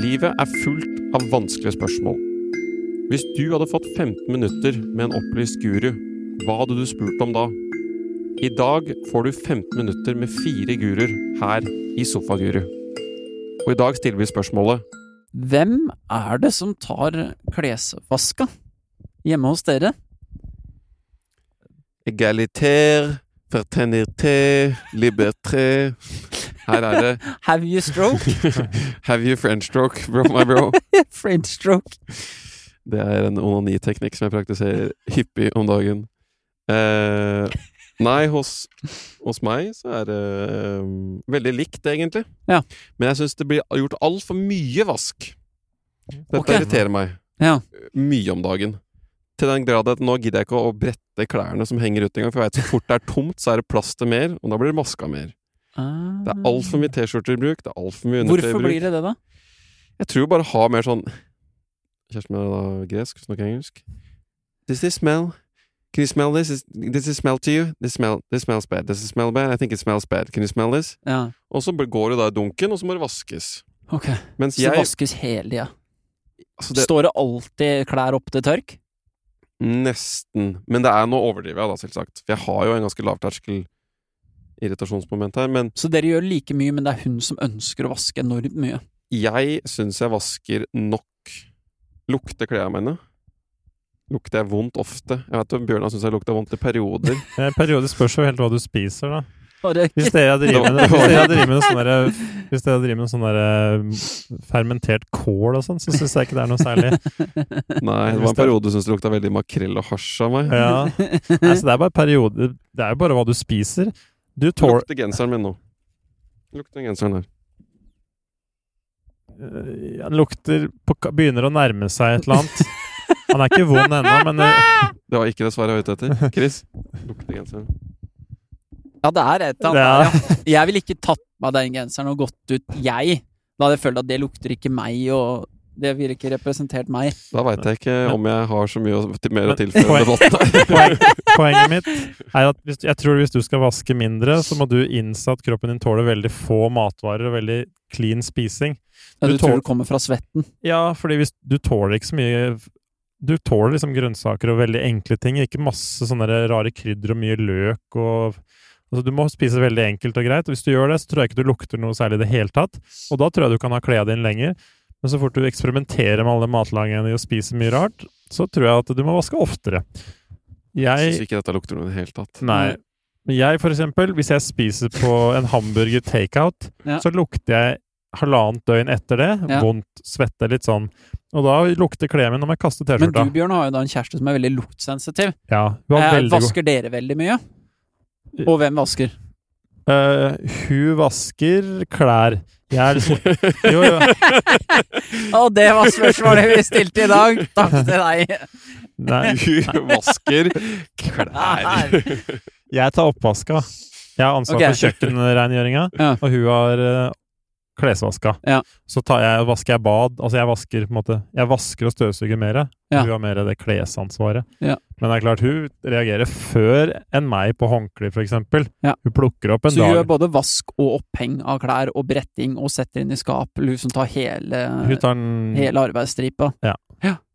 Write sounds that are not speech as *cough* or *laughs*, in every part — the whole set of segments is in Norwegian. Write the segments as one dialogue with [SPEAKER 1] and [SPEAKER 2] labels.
[SPEAKER 1] Livet er fullt av vanskelige spørsmål. Hvis du hadde fått 15 minutter med en opplyst guru, hva hadde du spurt om da? I dag får du 15 minutter med fire guruer her i Sofaguru. Og i dag stiller vi spørsmålet
[SPEAKER 2] Hvem er det som tar klesvaska hjemme hos dere?
[SPEAKER 1] Egaliter, fraternité, liberté Her er *laughs* det
[SPEAKER 2] Have you
[SPEAKER 1] *laughs*
[SPEAKER 2] stroke?
[SPEAKER 1] Have you French stroke, bro, my bro?
[SPEAKER 2] French stroke?
[SPEAKER 1] Det er en onaniteknikk som jeg praktiserer hyppig om dagen. Eh, nei, hos, hos meg så er det eh, veldig likt, egentlig.
[SPEAKER 2] Ja.
[SPEAKER 1] Men jeg syns det blir gjort altfor mye vask. Dette
[SPEAKER 2] Ok.
[SPEAKER 1] irriterer meg eh,
[SPEAKER 2] Ja.
[SPEAKER 1] mye om dagen. Til den grad at nå gidder jeg ikke å brette klærne som henger ut engang, for jeg vet så fort det er tomt, så er det plass til mer, og da blir det maska mer. Det er altfor mye T-skjorter i bruk, det er altfor mye undertøy i
[SPEAKER 2] Ah. Mm. Hvorfor
[SPEAKER 1] bruk.
[SPEAKER 2] blir det det, da?
[SPEAKER 1] Jeg tror bare ha mer sånn Kjæresten min er da gresk, snakker engelsk. Does this smell? Can you smell this? Is- Does this smell to you? This, smell, this smells bad. Does it smell bad? I think it smells bad. Can you smell this?
[SPEAKER 2] Ja,
[SPEAKER 1] Og så går det da i dunken, og så må det vaskes.
[SPEAKER 2] ok.
[SPEAKER 1] Mens
[SPEAKER 2] Så
[SPEAKER 1] jeg
[SPEAKER 2] vaskes hele tida.
[SPEAKER 1] altså det,
[SPEAKER 2] Står det alltid klær opp til tørk?
[SPEAKER 1] Nesten. Men det er nå overdriver jeg, da, selvsagt. For jeg har jo en ganske lavterskel irritasjonsmoment her. Men
[SPEAKER 2] Så dere gjør like mye, men det er hun som ønsker å vaske enormt mye.
[SPEAKER 1] jeg syns jeg vasker nok. Lukter klærne mine? Lukter jeg vondt ofte? Jeg vet jo Bjørnar syns jeg lukter vondt i perioder.
[SPEAKER 3] Det er en Eh, periode spørs jo helt hva du spiser, da.
[SPEAKER 2] Bare
[SPEAKER 3] Hvis dere driver med,
[SPEAKER 1] Det var-
[SPEAKER 3] hvis dere driver med noe sånn derre- hvis dere driver med sånn derre fermentert kål og sånn, så syns jeg ikke det er noe særlig.
[SPEAKER 1] Nei, det var
[SPEAKER 3] Hvis
[SPEAKER 1] en
[SPEAKER 3] det- Eh,
[SPEAKER 1] periode du syntes det lukta veldig makrell og hasj av meg.
[SPEAKER 3] Ja. Nei, så det er bare periode Det er jo bare hva du spiser. Du tåler
[SPEAKER 1] Lukter genseren min nå. Lukter genseren her.
[SPEAKER 3] Øh, Han lukter på, ka- Begynner å nærme seg et eller annet. Han er ikke vond ennå, men øh,
[SPEAKER 1] Det var ikke det svaret jeg var ute
[SPEAKER 3] *laughs*
[SPEAKER 1] etter. Chris, lukter genseren.
[SPEAKER 2] Ja, det er et eller
[SPEAKER 3] Ja.
[SPEAKER 2] annet der, ja. Jeg ville ikke tatt på meg den genseren og gått ut, jeg. Da hadde jeg følt at det lukter ikke meg, og det ville ikke representert meg.
[SPEAKER 1] Da veit jeg ikke
[SPEAKER 3] Men-
[SPEAKER 1] om jeg har så mye å, til- mer å
[SPEAKER 3] Men-
[SPEAKER 1] tilføre
[SPEAKER 3] Poeng-
[SPEAKER 1] debatten.
[SPEAKER 3] *laughs* poeng, poenget mitt er at hvis, jeg tror hvis du skal vaske mindre, så må du innse at kroppen din tåler veldig få matvarer og veldig clean spising.
[SPEAKER 2] Ja,
[SPEAKER 3] Du
[SPEAKER 2] Du tror
[SPEAKER 3] tål-
[SPEAKER 2] det kommer fra svetten.
[SPEAKER 3] Ja, fordi hvis du tåler ikke så mye Du tåler liksom grønnsaker og veldig enkle ting, ikke masse sånne der rare krydder og mye løk og Altså, du må spise veldig enkelt og greit, og hvis du gjør det, så tror jeg ikke du lukter noe særlig i det hele tatt, og da tror jeg du kan ha klærne dine lenger. Men så fort du eksperimenterer med alle matlagene og spiser mye rart, så tror jeg at du må vaske oftere.
[SPEAKER 1] Jeg
[SPEAKER 3] Jeg
[SPEAKER 1] syns ikke dette lukter noe i det hele tatt.
[SPEAKER 3] *laughs* Nei. Men jeg, for eksempel, hvis jeg spiser på en hamburger takeout,
[SPEAKER 2] Ja.
[SPEAKER 3] så lukter jeg halvannet døgn etter det.
[SPEAKER 2] Ja.
[SPEAKER 3] Vondt, svette, litt sånn. Og da lukter klærne mine om jeg kaster
[SPEAKER 2] Men du,
[SPEAKER 3] T-skjorta.
[SPEAKER 2] Bjørn, har jo da en kjæreste som er veldig luktsensitiv.
[SPEAKER 3] Ja, hun var
[SPEAKER 2] Eh,
[SPEAKER 3] veldig god.
[SPEAKER 2] Vasker dere veldig mye? Og hvem vasker?
[SPEAKER 3] Eh, hun vasker klær. Jeg er liksom
[SPEAKER 2] *laughs*
[SPEAKER 3] Jo, jo.
[SPEAKER 2] Og det var spørsmålet vi stilte i dag! Takk
[SPEAKER 3] *laughs*
[SPEAKER 2] til deg.
[SPEAKER 3] Nei,
[SPEAKER 1] Du vasker klær.
[SPEAKER 2] Her.
[SPEAKER 3] jeg tar oppvaska. Jeg har ansvar
[SPEAKER 2] Ok.
[SPEAKER 3] for kjøkkenrengjøringa,
[SPEAKER 2] *laughs* Ja.
[SPEAKER 3] og hun har eh, klesvaska.
[SPEAKER 2] Ja.
[SPEAKER 3] Så tar jeg, vasker jeg bad. Altså, jeg vasker på en måte Jeg vasker og støvsuger mer.
[SPEAKER 2] Ja.
[SPEAKER 3] Hun har mer det klesansvaret.
[SPEAKER 2] Ja.
[SPEAKER 3] Men det er klart, hun reagerer før enn meg på håndklær, for eksempel.
[SPEAKER 2] Ja.
[SPEAKER 3] Hun plukker opp en
[SPEAKER 2] Så du
[SPEAKER 3] dag
[SPEAKER 2] gjør både vask og oppheng av klær, og bretting, og setter inn i skap. eller Hun som tar hele,
[SPEAKER 3] Hun tar den
[SPEAKER 2] eh, hele arbeidsstripa.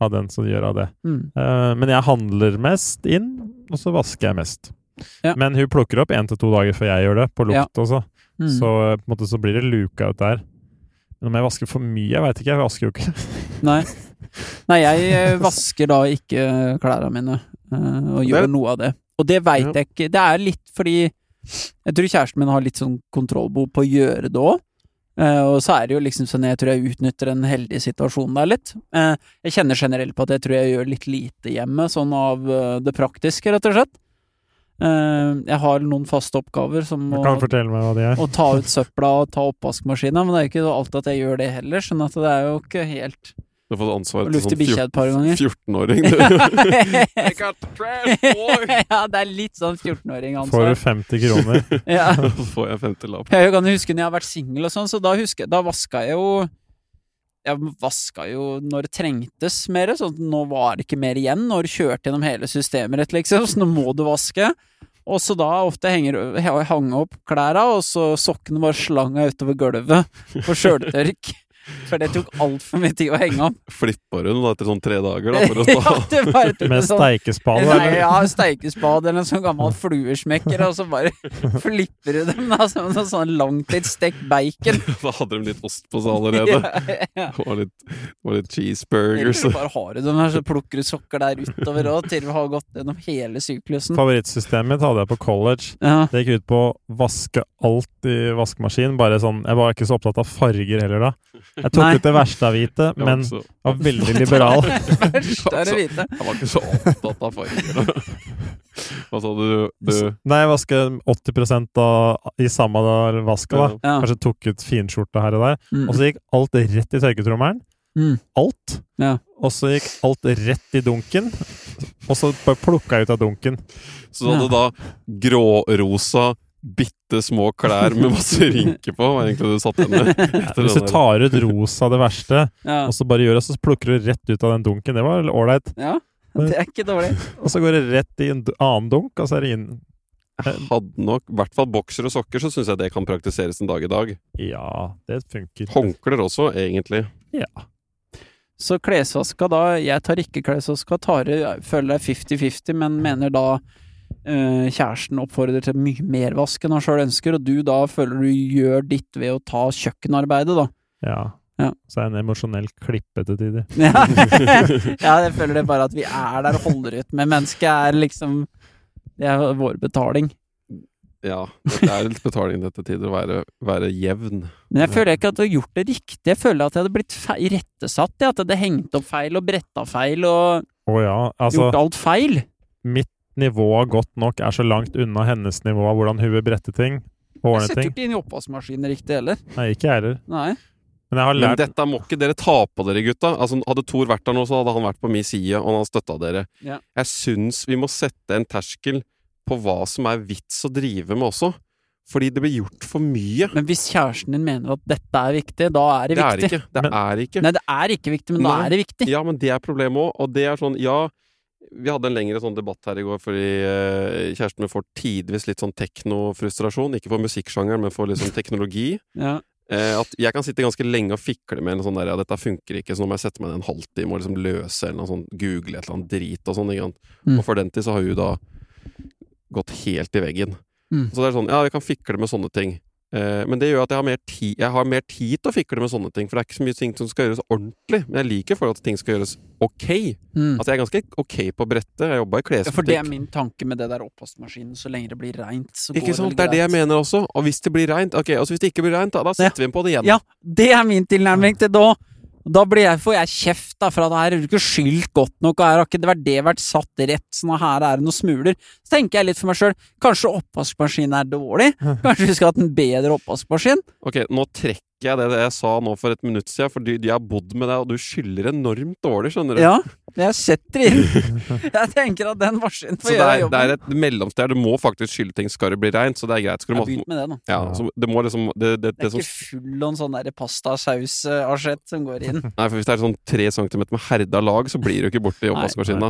[SPEAKER 3] av den som gjør av det.
[SPEAKER 2] Mm.
[SPEAKER 3] Eh, men jeg handler mest inn, og så vasker jeg mest.
[SPEAKER 2] Ja.
[SPEAKER 3] Men hun plukker opp én til to dager før jeg gjør det, på
[SPEAKER 2] Ja.
[SPEAKER 3] lukt også.
[SPEAKER 2] Mm.
[SPEAKER 3] Så eh, på en måte så blir det luka ut der. Men om jeg vasker for mye? Jeg veit ikke. Jeg vasker jo ikke.
[SPEAKER 2] Nei. Nei, jeg eh, vasker da ikke klærne mine, eh, og
[SPEAKER 1] Det
[SPEAKER 2] gjør
[SPEAKER 1] er-
[SPEAKER 2] noe av det. Og det veit
[SPEAKER 1] Ja.
[SPEAKER 2] jeg ikke. Det er litt fordi Jeg tror kjæresten min har litt sånn kontrollbehov på å gjøre det òg. og så er det jo liksom sånn jeg tror jeg utnytter den heldige situasjonen der litt. Eh, jeg kjenner generelt på at jeg tror jeg gjør litt lite hjemme, sånn av eh, det praktiske, rett og slett. Eh, jeg har noen faste oppgaver som
[SPEAKER 3] Du
[SPEAKER 2] å
[SPEAKER 3] kan fortelle meg hva det er.
[SPEAKER 2] å ta ut søpla og ta oppvaskmaskina, men det er jo ikke alltid at jeg gjør det heller, sånn at det er jo ikke helt
[SPEAKER 1] Du har fått
[SPEAKER 2] Å
[SPEAKER 1] ansvaret til
[SPEAKER 2] lufte
[SPEAKER 1] sånn
[SPEAKER 2] bikkja et par ganger.
[SPEAKER 1] 14-åring,
[SPEAKER 2] *laughs*
[SPEAKER 1] du. I
[SPEAKER 2] ja,
[SPEAKER 1] got the trash, boy. *laughs*
[SPEAKER 2] det er litt sånn 14-åring-ansvar.
[SPEAKER 3] Får du 50 kroner?
[SPEAKER 2] Ja.
[SPEAKER 1] Så får jeg femte lapp.
[SPEAKER 2] Jeg kan jo huske når jeg har vært singel og sånn, så da, husker, jeg- da vaska jeg jo Jeg vaska jo når det trengtes mer, sånn at nå var det ikke mer igjen. Nå har du kjørt gjennom hele systemet ditt, liksom, så nå må du vaske. Og så da ofte henger, hang jeg opp klærne, og så sokkene bare slang jeg utover gulvet på sjøltørk. For det tok altfor mye tid å henge om.
[SPEAKER 1] Flippa hun da etter sånn tre dager, da, for å
[SPEAKER 2] *laughs* ja,
[SPEAKER 1] ta *laughs*
[SPEAKER 2] det bare tok
[SPEAKER 3] Med
[SPEAKER 2] en sånn
[SPEAKER 3] steikespade.
[SPEAKER 2] Nei,
[SPEAKER 3] eller?
[SPEAKER 2] ja, steikespad eller en sånn gammel fluesmekker, og så
[SPEAKER 3] *laughs*
[SPEAKER 2] bare flipper du dem, da, som en sånn langtids stekt bacon.
[SPEAKER 1] Da hadde de litt ost på seg allerede.
[SPEAKER 2] Ja,
[SPEAKER 1] *laughs*
[SPEAKER 2] ja.
[SPEAKER 1] Og litt, og litt
[SPEAKER 2] Eller
[SPEAKER 1] cheeseburgers.
[SPEAKER 2] så bare har du dem her, så plukker du sokker der utover òg, til du har gått gjennom hele syklusen.
[SPEAKER 3] Favorittsystemet mitt hadde jeg på college.
[SPEAKER 2] Ja.
[SPEAKER 3] Det gikk ut på å vaske alt i vaskemaskin. Bare sånn, Jeg var ikke så opptatt av farger heller da. Jeg tok
[SPEAKER 2] Nei.
[SPEAKER 3] ut det verste av hvite,
[SPEAKER 1] *laughs* Jeg var
[SPEAKER 3] men
[SPEAKER 1] ikke så-
[SPEAKER 3] var veldig liberal.
[SPEAKER 2] *laughs* Først er det hvite.
[SPEAKER 1] Jeg var ikke så opptatt av farger. *laughs* Hva sa du? *laughs* du
[SPEAKER 3] Nei, jeg vasket 80 av, i samme da vasket. da.
[SPEAKER 1] ja.
[SPEAKER 2] Ja.
[SPEAKER 3] Kanskje tok ut finskjorta her og der.
[SPEAKER 2] Mm.
[SPEAKER 3] Og så gikk alt rett i tørketrommelen.
[SPEAKER 2] Mm.
[SPEAKER 3] Alt.
[SPEAKER 2] Ja.
[SPEAKER 3] Og så gikk alt rett i dunken. Og så bare plukka jeg ut av dunken.
[SPEAKER 1] Så du hadde da grårosa, bitte små klær med
[SPEAKER 3] *laughs*
[SPEAKER 1] masse rynker på, var egentlig det du satt igjen med. etter
[SPEAKER 3] Hvis
[SPEAKER 1] den
[SPEAKER 3] du
[SPEAKER 1] der.
[SPEAKER 3] tar ut rosa, det verste,
[SPEAKER 2] Ja.
[SPEAKER 3] og så bare gjør det, så plukker du rett ut av den dunken. Det var ålreit.
[SPEAKER 2] ja. Det er ikke dårlig.
[SPEAKER 3] Og så går det rett i en d- annen dunk, og så er det inn.
[SPEAKER 1] Hadde nok, i hvert fall bokser og sokker, så syns jeg det kan praktiseres en dag i dag.
[SPEAKER 3] Ja, det funker.
[SPEAKER 1] Håndklær også, egentlig.
[SPEAKER 2] Så klesvaska da Jeg tar ikke klesvaska. Tare føler det er 50-50, men mener da eh, kjæresten oppfordrer til mye mer vask enn han sjøl ønsker, og du da føler du gjør ditt ved å ta kjøkkenarbeidet, da. *laughs*
[SPEAKER 3] Ja.
[SPEAKER 2] Ja.
[SPEAKER 3] Så er det en emosjonell klippe til tider.
[SPEAKER 2] Ja. ja, jeg føler det bare at vi er der og holder ut med mennesket, er liksom Det er vår betaling.
[SPEAKER 1] Ja. Det er litt betaling dette tider å være, være jevn.
[SPEAKER 2] Men jeg føler ikke at du har gjort det riktig. Jeg føler at jeg hadde blitt fe- irettesatt, jeg. At jeg hadde hengt opp feil og bretta feil og
[SPEAKER 3] Å ja. Altså,
[SPEAKER 2] gjort alt feil.
[SPEAKER 3] nivået godt nok er så langt unna hennes nivå av hvordan hun vil brette ting og
[SPEAKER 2] Jeg
[SPEAKER 3] ordne
[SPEAKER 2] setter jo
[SPEAKER 3] ting.
[SPEAKER 2] ikke inn i oppvaskmaskinen riktig heller.
[SPEAKER 3] Nei, ikke jeg heller.
[SPEAKER 2] Nei.
[SPEAKER 3] Men jeg har
[SPEAKER 1] Men
[SPEAKER 3] lært
[SPEAKER 1] dette må ikke dere ta på dere, gutta. Altså, hadde Thor vært der nå, så hadde han vært på min side, og han hadde støtta dere.
[SPEAKER 2] Ja.
[SPEAKER 1] Jeg syns vi må sette en terskel på hva som er vits å drive med også. Fordi det blir gjort for mye.
[SPEAKER 2] Men hvis kjæresten din mener at dette er viktig, da er det,
[SPEAKER 1] Det er det
[SPEAKER 2] viktig.
[SPEAKER 1] ikke. Det
[SPEAKER 3] Men-
[SPEAKER 1] er ikke.
[SPEAKER 2] Nei, det er ikke viktig, men da
[SPEAKER 1] Nei.
[SPEAKER 2] er det viktig.
[SPEAKER 1] Ja, men det er problemet òg. Og det er sånn, ja Vi hadde en lengre sånn debatt her i går fordi eh, kjæresten min får tidvis litt sånn teknofrustrasjon. Ikke for musikksjangeren, men for liksom teknologi.
[SPEAKER 2] Ja.
[SPEAKER 1] Eh, at jeg kan sitte ganske lenge og fikle med en sånn der, ja, dette funker ikke, så nå må jeg sette meg ned en halvtime og liksom løse eller noe sånn, google et eller annet drit og sånn. ikke sant?
[SPEAKER 2] Mm.
[SPEAKER 1] Og for den tid så har hun da gått helt i veggen.
[SPEAKER 2] Mm.
[SPEAKER 1] Så det er sånn, ja, jeg kan fikle med sånne ting. Eh, men det gjør at jeg har, mer ti, jeg har mer tid til å fikle med sånne ting, for det er ikke så mye ting som skal gjøres ordentlig. Men jeg liker for at ting skal gjøres ok.
[SPEAKER 2] Mm.
[SPEAKER 1] Altså, jeg er ganske ok på brettet. Jeg jobba i
[SPEAKER 2] Ja, For det er
[SPEAKER 1] klesbutikk.
[SPEAKER 2] min tanke med det der oppvaskmaskinen. Så lenge det blir reint, så går
[SPEAKER 1] Ikke sant?
[SPEAKER 2] vel
[SPEAKER 1] Det er det jeg
[SPEAKER 2] greit.
[SPEAKER 1] mener også. Og hvis det blir reint, ok, altså hvis det ikke blir reint, da, da setter vi inn på det igjen.
[SPEAKER 2] Ja, det er min tilnærming til det òg. Da blir jeg, får jeg kjeft da, for at her er du ikke skylt godt nok, og her har ikke det vært, det vært satt rett, sånn at her er det noen smuler. Så tenker jeg litt for meg sjøl, kanskje oppvaskmaskinen er dårlig? Kanskje vi skulle hatt en bedre
[SPEAKER 1] *laughs*
[SPEAKER 2] oppvaskmaskin?
[SPEAKER 1] Ok, nå trekker jeg det, det jeg sa nå for et minutt siden, for du, de har bodd med deg, og du skylder enormt dårlig, skjønner du.
[SPEAKER 2] Ja, jeg setter inn. Jeg tenker at den maskinen
[SPEAKER 1] Så
[SPEAKER 2] får
[SPEAKER 1] det
[SPEAKER 2] gjøre
[SPEAKER 1] er, det
[SPEAKER 2] jobben.
[SPEAKER 1] er et mellomsted. Du må faktisk skylde ting skal det bli reint, så det er greit. Skal du
[SPEAKER 2] Jeg
[SPEAKER 1] måtte,
[SPEAKER 2] begynte med det nå.
[SPEAKER 1] ja, så det må liksom det, det,
[SPEAKER 2] Det
[SPEAKER 1] det
[SPEAKER 2] er
[SPEAKER 1] som,
[SPEAKER 2] ikke full av en sånn der pastasaus-asjett som går inn.
[SPEAKER 1] Nei, for hvis det er sånn tre centimeter med herda lag, så blir du ikke
[SPEAKER 2] *laughs*
[SPEAKER 1] borti oppvaskmaskina.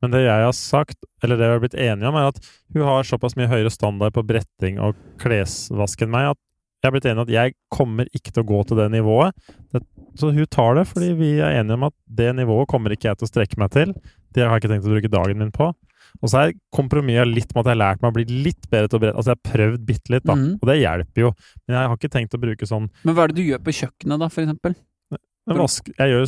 [SPEAKER 3] Men det jeg har sagt, eller det vi har blitt enige om, er at hun har såpass mye høyere standard på bretting og klesvask enn meg at jeg har blitt enig om at jeg kommer ikke til å gå til det nivået. Det, så hun tar det, fordi vi er enige om at det nivået kommer ikke jeg til å strekke meg til. Det har jeg ikke tenkt å bruke dagen min på. Og så er kompromisset litt med at jeg har lært meg å bli litt bedre til å brette. Altså jeg har prøvd bitte litt, *laughs* da.
[SPEAKER 2] Mhm.
[SPEAKER 3] Og det hjelper jo. Men jeg har ikke tenkt å bruke sånn
[SPEAKER 2] Men hva er det du gjør på kjøkkenet, da, for eksempel?
[SPEAKER 3] Men vask, jeg, gjør,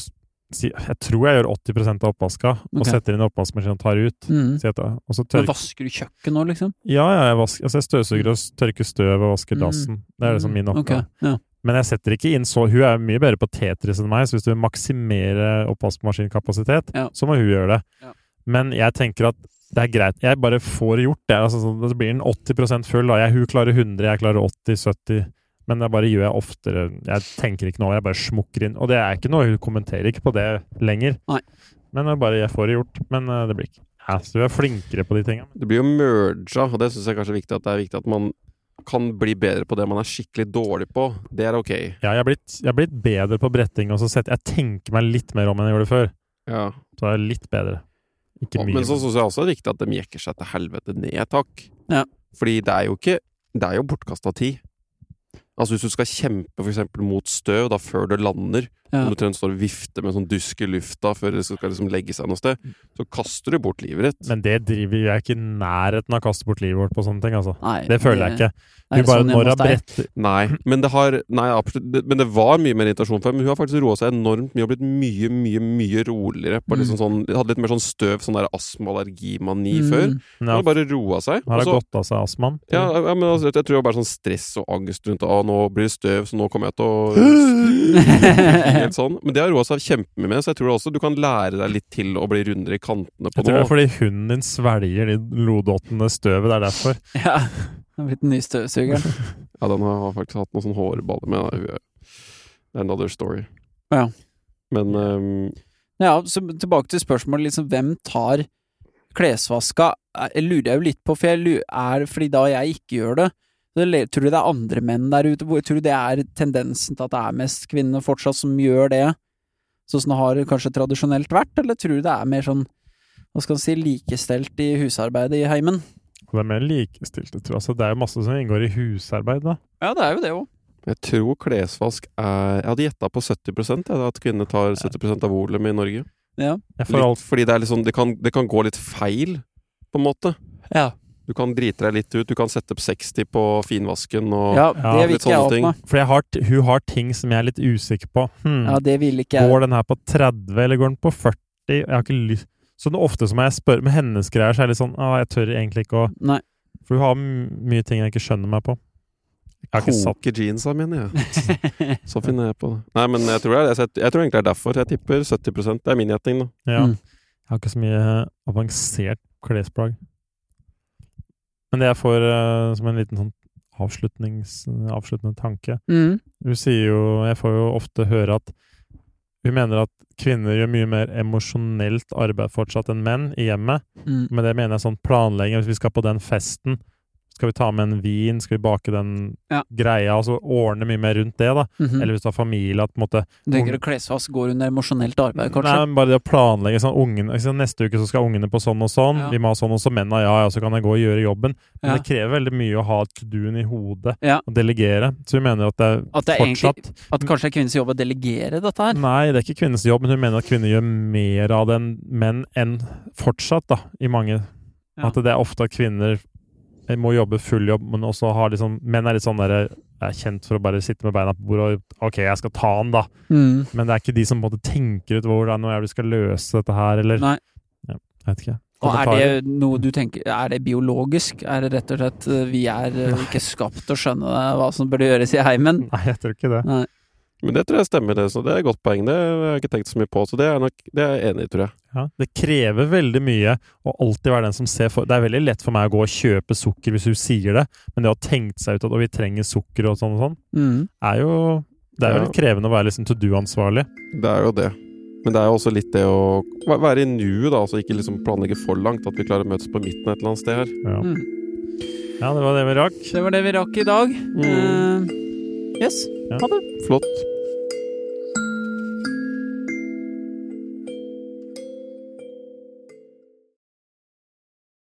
[SPEAKER 3] si- jeg tror jeg gjør 80 av oppvaska, og
[SPEAKER 2] Ok.
[SPEAKER 3] setter inn i oppvaskmaskinen og tar ut.
[SPEAKER 2] Mm.
[SPEAKER 3] sier jeg da. Og så
[SPEAKER 2] Men
[SPEAKER 3] tørker
[SPEAKER 2] vasker du kjøkkenet nå, liksom?
[SPEAKER 3] Ja, ja jeg, vasker, altså jeg støvsuger og s- tørker støv og vasker
[SPEAKER 2] Mm.
[SPEAKER 3] dassen. Det er liksom min oppgave.
[SPEAKER 2] Ok, ja.
[SPEAKER 3] Men jeg setter ikke inn så Hun er mye bedre på Tetris enn meg, så hvis du vil maksimere oppvaskmaskinkapasitet,
[SPEAKER 2] Ja.
[SPEAKER 3] så må hun gjøre det.
[SPEAKER 2] Ja.
[SPEAKER 3] Men jeg tenker at det er greit. Jeg bare får gjort det. Altså, så det blir en 80 full. Da. Jeg, hun klarer 100, jeg klarer 80-70. Men det bare gjør jeg oftere. Jeg tenker ikke noe over det, jeg bare smukker inn. Og det er ikke noe, hun kommenterer ikke på det lenger.
[SPEAKER 2] Nei.
[SPEAKER 3] Men det er bare jeg får det gjort. Men eh, det blir ikke ja, Så hun er flinkere på de tinga.
[SPEAKER 1] Det blir jo merga, og det syns jeg kanskje er viktig. At det er viktig at man kan bli bedre på det man er skikkelig dårlig på. Det er ok.
[SPEAKER 3] Ja, jeg har blitt, jeg har blitt bedre på bretting. Og så sett, jeg tenker meg litt mer om enn jeg gjorde før.
[SPEAKER 1] Ja.
[SPEAKER 3] Så jeg er litt bedre. Ikke
[SPEAKER 1] Og-
[SPEAKER 3] mye.
[SPEAKER 1] Men så syns jeg også det er riktig at de jekker seg til helvete ned, takk.
[SPEAKER 2] Ja.
[SPEAKER 1] Fordi det er jo ikke Det er jo bortkasta tid. Altså Hvis du skal kjempe for eksempel mot støv da før det lander,
[SPEAKER 2] Ja.
[SPEAKER 1] og du omtrent står og vifter med en sånn dusk i lufta før det skal liksom legge seg noe sted, så kaster du bort livet ditt.
[SPEAKER 3] Mm. Men det driver jeg ikke i nærheten av å kaste bort livet vårt på sånne ting, altså.
[SPEAKER 2] Nei,
[SPEAKER 3] Det føler jeg ikke.
[SPEAKER 2] det er
[SPEAKER 3] Du bare
[SPEAKER 2] sånn hjemme hos
[SPEAKER 3] når av
[SPEAKER 2] deg.
[SPEAKER 3] brett
[SPEAKER 1] Nei, men det har Nei, absolutt det- Men det var mye mer irritasjon for henne. Men hun har faktisk roa seg enormt mye og blitt mye, mye mye roligere.
[SPEAKER 3] Mm.
[SPEAKER 1] På liksom sånn, hadde litt mer sånn støv, sånn der astma- og allergimani før.
[SPEAKER 2] Mm. *laughs*
[SPEAKER 1] Hun
[SPEAKER 3] ja,
[SPEAKER 1] har bare roa seg.
[SPEAKER 3] Har
[SPEAKER 1] og
[SPEAKER 3] det
[SPEAKER 1] så-
[SPEAKER 3] gått av seg astmaen?
[SPEAKER 1] altså- Ja, ja, men altså, jeg tror det var bare sånn stress og angst rundt Å, nå blir det støv, så nå kommer jeg til å
[SPEAKER 3] *gasps*
[SPEAKER 1] Helt sånn. Men det har roa seg kjempemye med, så jeg tror også du kan lære deg litt til å bli rundere i kantene på
[SPEAKER 3] Jeg tror det
[SPEAKER 1] noe.
[SPEAKER 3] er fordi hunden din svelger de lodottene støvet, det er derfor.
[SPEAKER 2] Ja. Det har blitt den nye støvsugeren.
[SPEAKER 1] Ja, den har jeg faktisk hatt noen sånne hårballer med. da. Hun er- Det er another story.
[SPEAKER 2] Ja.
[SPEAKER 1] Men ehm,
[SPEAKER 2] Ja, så tilbake til spørsmålet, liksom, hvem tar klesvaska? Jeg lurer jeg jo litt på, for jeg lurer, er, fordi da jeg ikke gjør det, så le- tror du det er andre menn der ute? Hvor- Tror du det er tendensen til at det er mest kvinner fortsatt som gjør det, sånn som det har kanskje tradisjonelt vært, eller tror du det er mer sånn, hva skal man si, likestelt i husarbeidet i heimen?
[SPEAKER 3] Og det er mer likestilte, tror jeg. Altså, det er jo masse som inngår i husarbeid, da.
[SPEAKER 2] Ja, det er jo det òg.
[SPEAKER 1] jeg tror klesvask er Jeg hadde gjetta på 70 jeg, at kvinner tar 70 av volumet i Norge.
[SPEAKER 3] Jeg får
[SPEAKER 1] Litt,
[SPEAKER 3] alt
[SPEAKER 1] fordi det, er litt sånn, det, kan, det kan gå litt feil, på en måte.
[SPEAKER 2] Ja.
[SPEAKER 1] Du kan drite deg litt ut. Du kan sette opp 60 på finvasken og
[SPEAKER 2] ja,
[SPEAKER 3] Ja,
[SPEAKER 2] det vil
[SPEAKER 1] litt
[SPEAKER 2] ikke
[SPEAKER 1] sånne
[SPEAKER 2] jeg ha på
[SPEAKER 1] ting.
[SPEAKER 2] meg.
[SPEAKER 3] For jeg har, t- hun har ting som jeg er litt usikker på. Hmm.
[SPEAKER 2] Ja, det vil ikke jeg.
[SPEAKER 3] Går den her på 30, eller går den på 40? Jeg har ikke lyst Så det er ofte som jeg spør med hennes greier, så er jeg litt sånn ah, Jeg tør egentlig ikke å
[SPEAKER 2] Nei.
[SPEAKER 3] For hun har m- mye ting jeg ikke skjønner meg på. Jeg har ikke satt
[SPEAKER 1] Koke jeansa mine, jeg. Så finner jeg på det. Nei, men jeg tror, det er- jeg, jeg tror egentlig det er derfor. Jeg tipper 70 Det er min gjetning, da.
[SPEAKER 3] Ja.
[SPEAKER 2] Mm.
[SPEAKER 3] Jeg har ikke så mye eh, avansert klesplagg. Men det jeg får eh, som en liten sånn avslutnings, avsluttende tanke
[SPEAKER 2] Mm.
[SPEAKER 3] Hun sier jo Jeg får jo ofte høre at hun mener at kvinner gjør mye mer emosjonelt arbeid fortsatt enn menn i hjemmet.
[SPEAKER 2] Mm.
[SPEAKER 3] Med det mener jeg sånn planlegging. Hvis vi skal på den festen, skal vi ta med en vin? Skal vi bake den
[SPEAKER 2] Ja.
[SPEAKER 3] greia? Altså ordne mye mer rundt det, da.
[SPEAKER 2] Mhm.
[SPEAKER 3] Eller hvis du har familie, at på en måte
[SPEAKER 2] Du tenker at klesvask går under emosjonelt arbeid, kanskje?
[SPEAKER 3] Nei, men bare det å planlegge sånn ungen, ikke sant, Neste uke så skal ungene på sånn og sånn.
[SPEAKER 2] Ja.
[SPEAKER 3] Vi må ha sånn og sånn. Mennene, ja, ja, så kan jeg gå og gjøre jobben. Men
[SPEAKER 2] Ja.
[SPEAKER 3] det krever veldig mye å ha to do-en i hodet
[SPEAKER 2] Ja.
[SPEAKER 3] og delegere. Så hun mener at det er
[SPEAKER 2] At det er
[SPEAKER 3] fortsatt
[SPEAKER 2] egentlig At kanskje det er kvinnens jobb å delegere dette her?
[SPEAKER 3] Nei, det er ikke kvinnens jobb, men hun mener at kvinner gjør mer av det enn menn enn fortsatt, da, i mange.
[SPEAKER 2] Ja.
[SPEAKER 3] At det er ofte at kvinner må jobbe full jobb, men også har liksom Menn er litt sånn derre er kjent for å bare sitte med beina på bordet og OK, jeg skal ta den, da.
[SPEAKER 2] Mm.
[SPEAKER 3] Men det er ikke de som på en måte tenker ut hvordan og jeg skal løse dette her, eller
[SPEAKER 2] Nei.
[SPEAKER 3] Ja, jeg vet ikke.
[SPEAKER 2] Og er
[SPEAKER 3] Kommentarer?
[SPEAKER 2] det noe du tenker Er det biologisk? Er det rett og slett eh, vi er eh, ikke skapt til å skjønne hva som burde gjøres i heimen?
[SPEAKER 3] Nei, jeg tror ikke det.
[SPEAKER 1] Men det tror jeg stemmer, det. Så det er et godt poeng. Det har jeg ikke tenkt så mye på, så det er, nok, det er jeg enig i, tror jeg.
[SPEAKER 3] Ja. Det krever veldig mye å alltid være den som ser for Det er veldig lett for meg å gå og kjøpe sukker hvis hun sier det, men det å ha tenkt seg ut at «Å, vi trenger sukker og sånn og sånn,
[SPEAKER 2] Mm.
[SPEAKER 3] er jo Det er jo
[SPEAKER 1] Ja.
[SPEAKER 3] litt krevende å være liksom to do-ansvarlig.
[SPEAKER 1] Det er jo det. Men det er jo også litt det å væ- være i nuet, da. Altså ikke liksom planlegge for langt. At vi klarer å møtes på midten et eller annet sted her.
[SPEAKER 3] Ja.
[SPEAKER 2] Mm.
[SPEAKER 3] ja, det var det vi rakk.
[SPEAKER 2] Det var det vi rakk i dag.
[SPEAKER 1] Mm.
[SPEAKER 2] Eh, yes.
[SPEAKER 3] Ja.
[SPEAKER 2] Ha det.
[SPEAKER 1] Flott.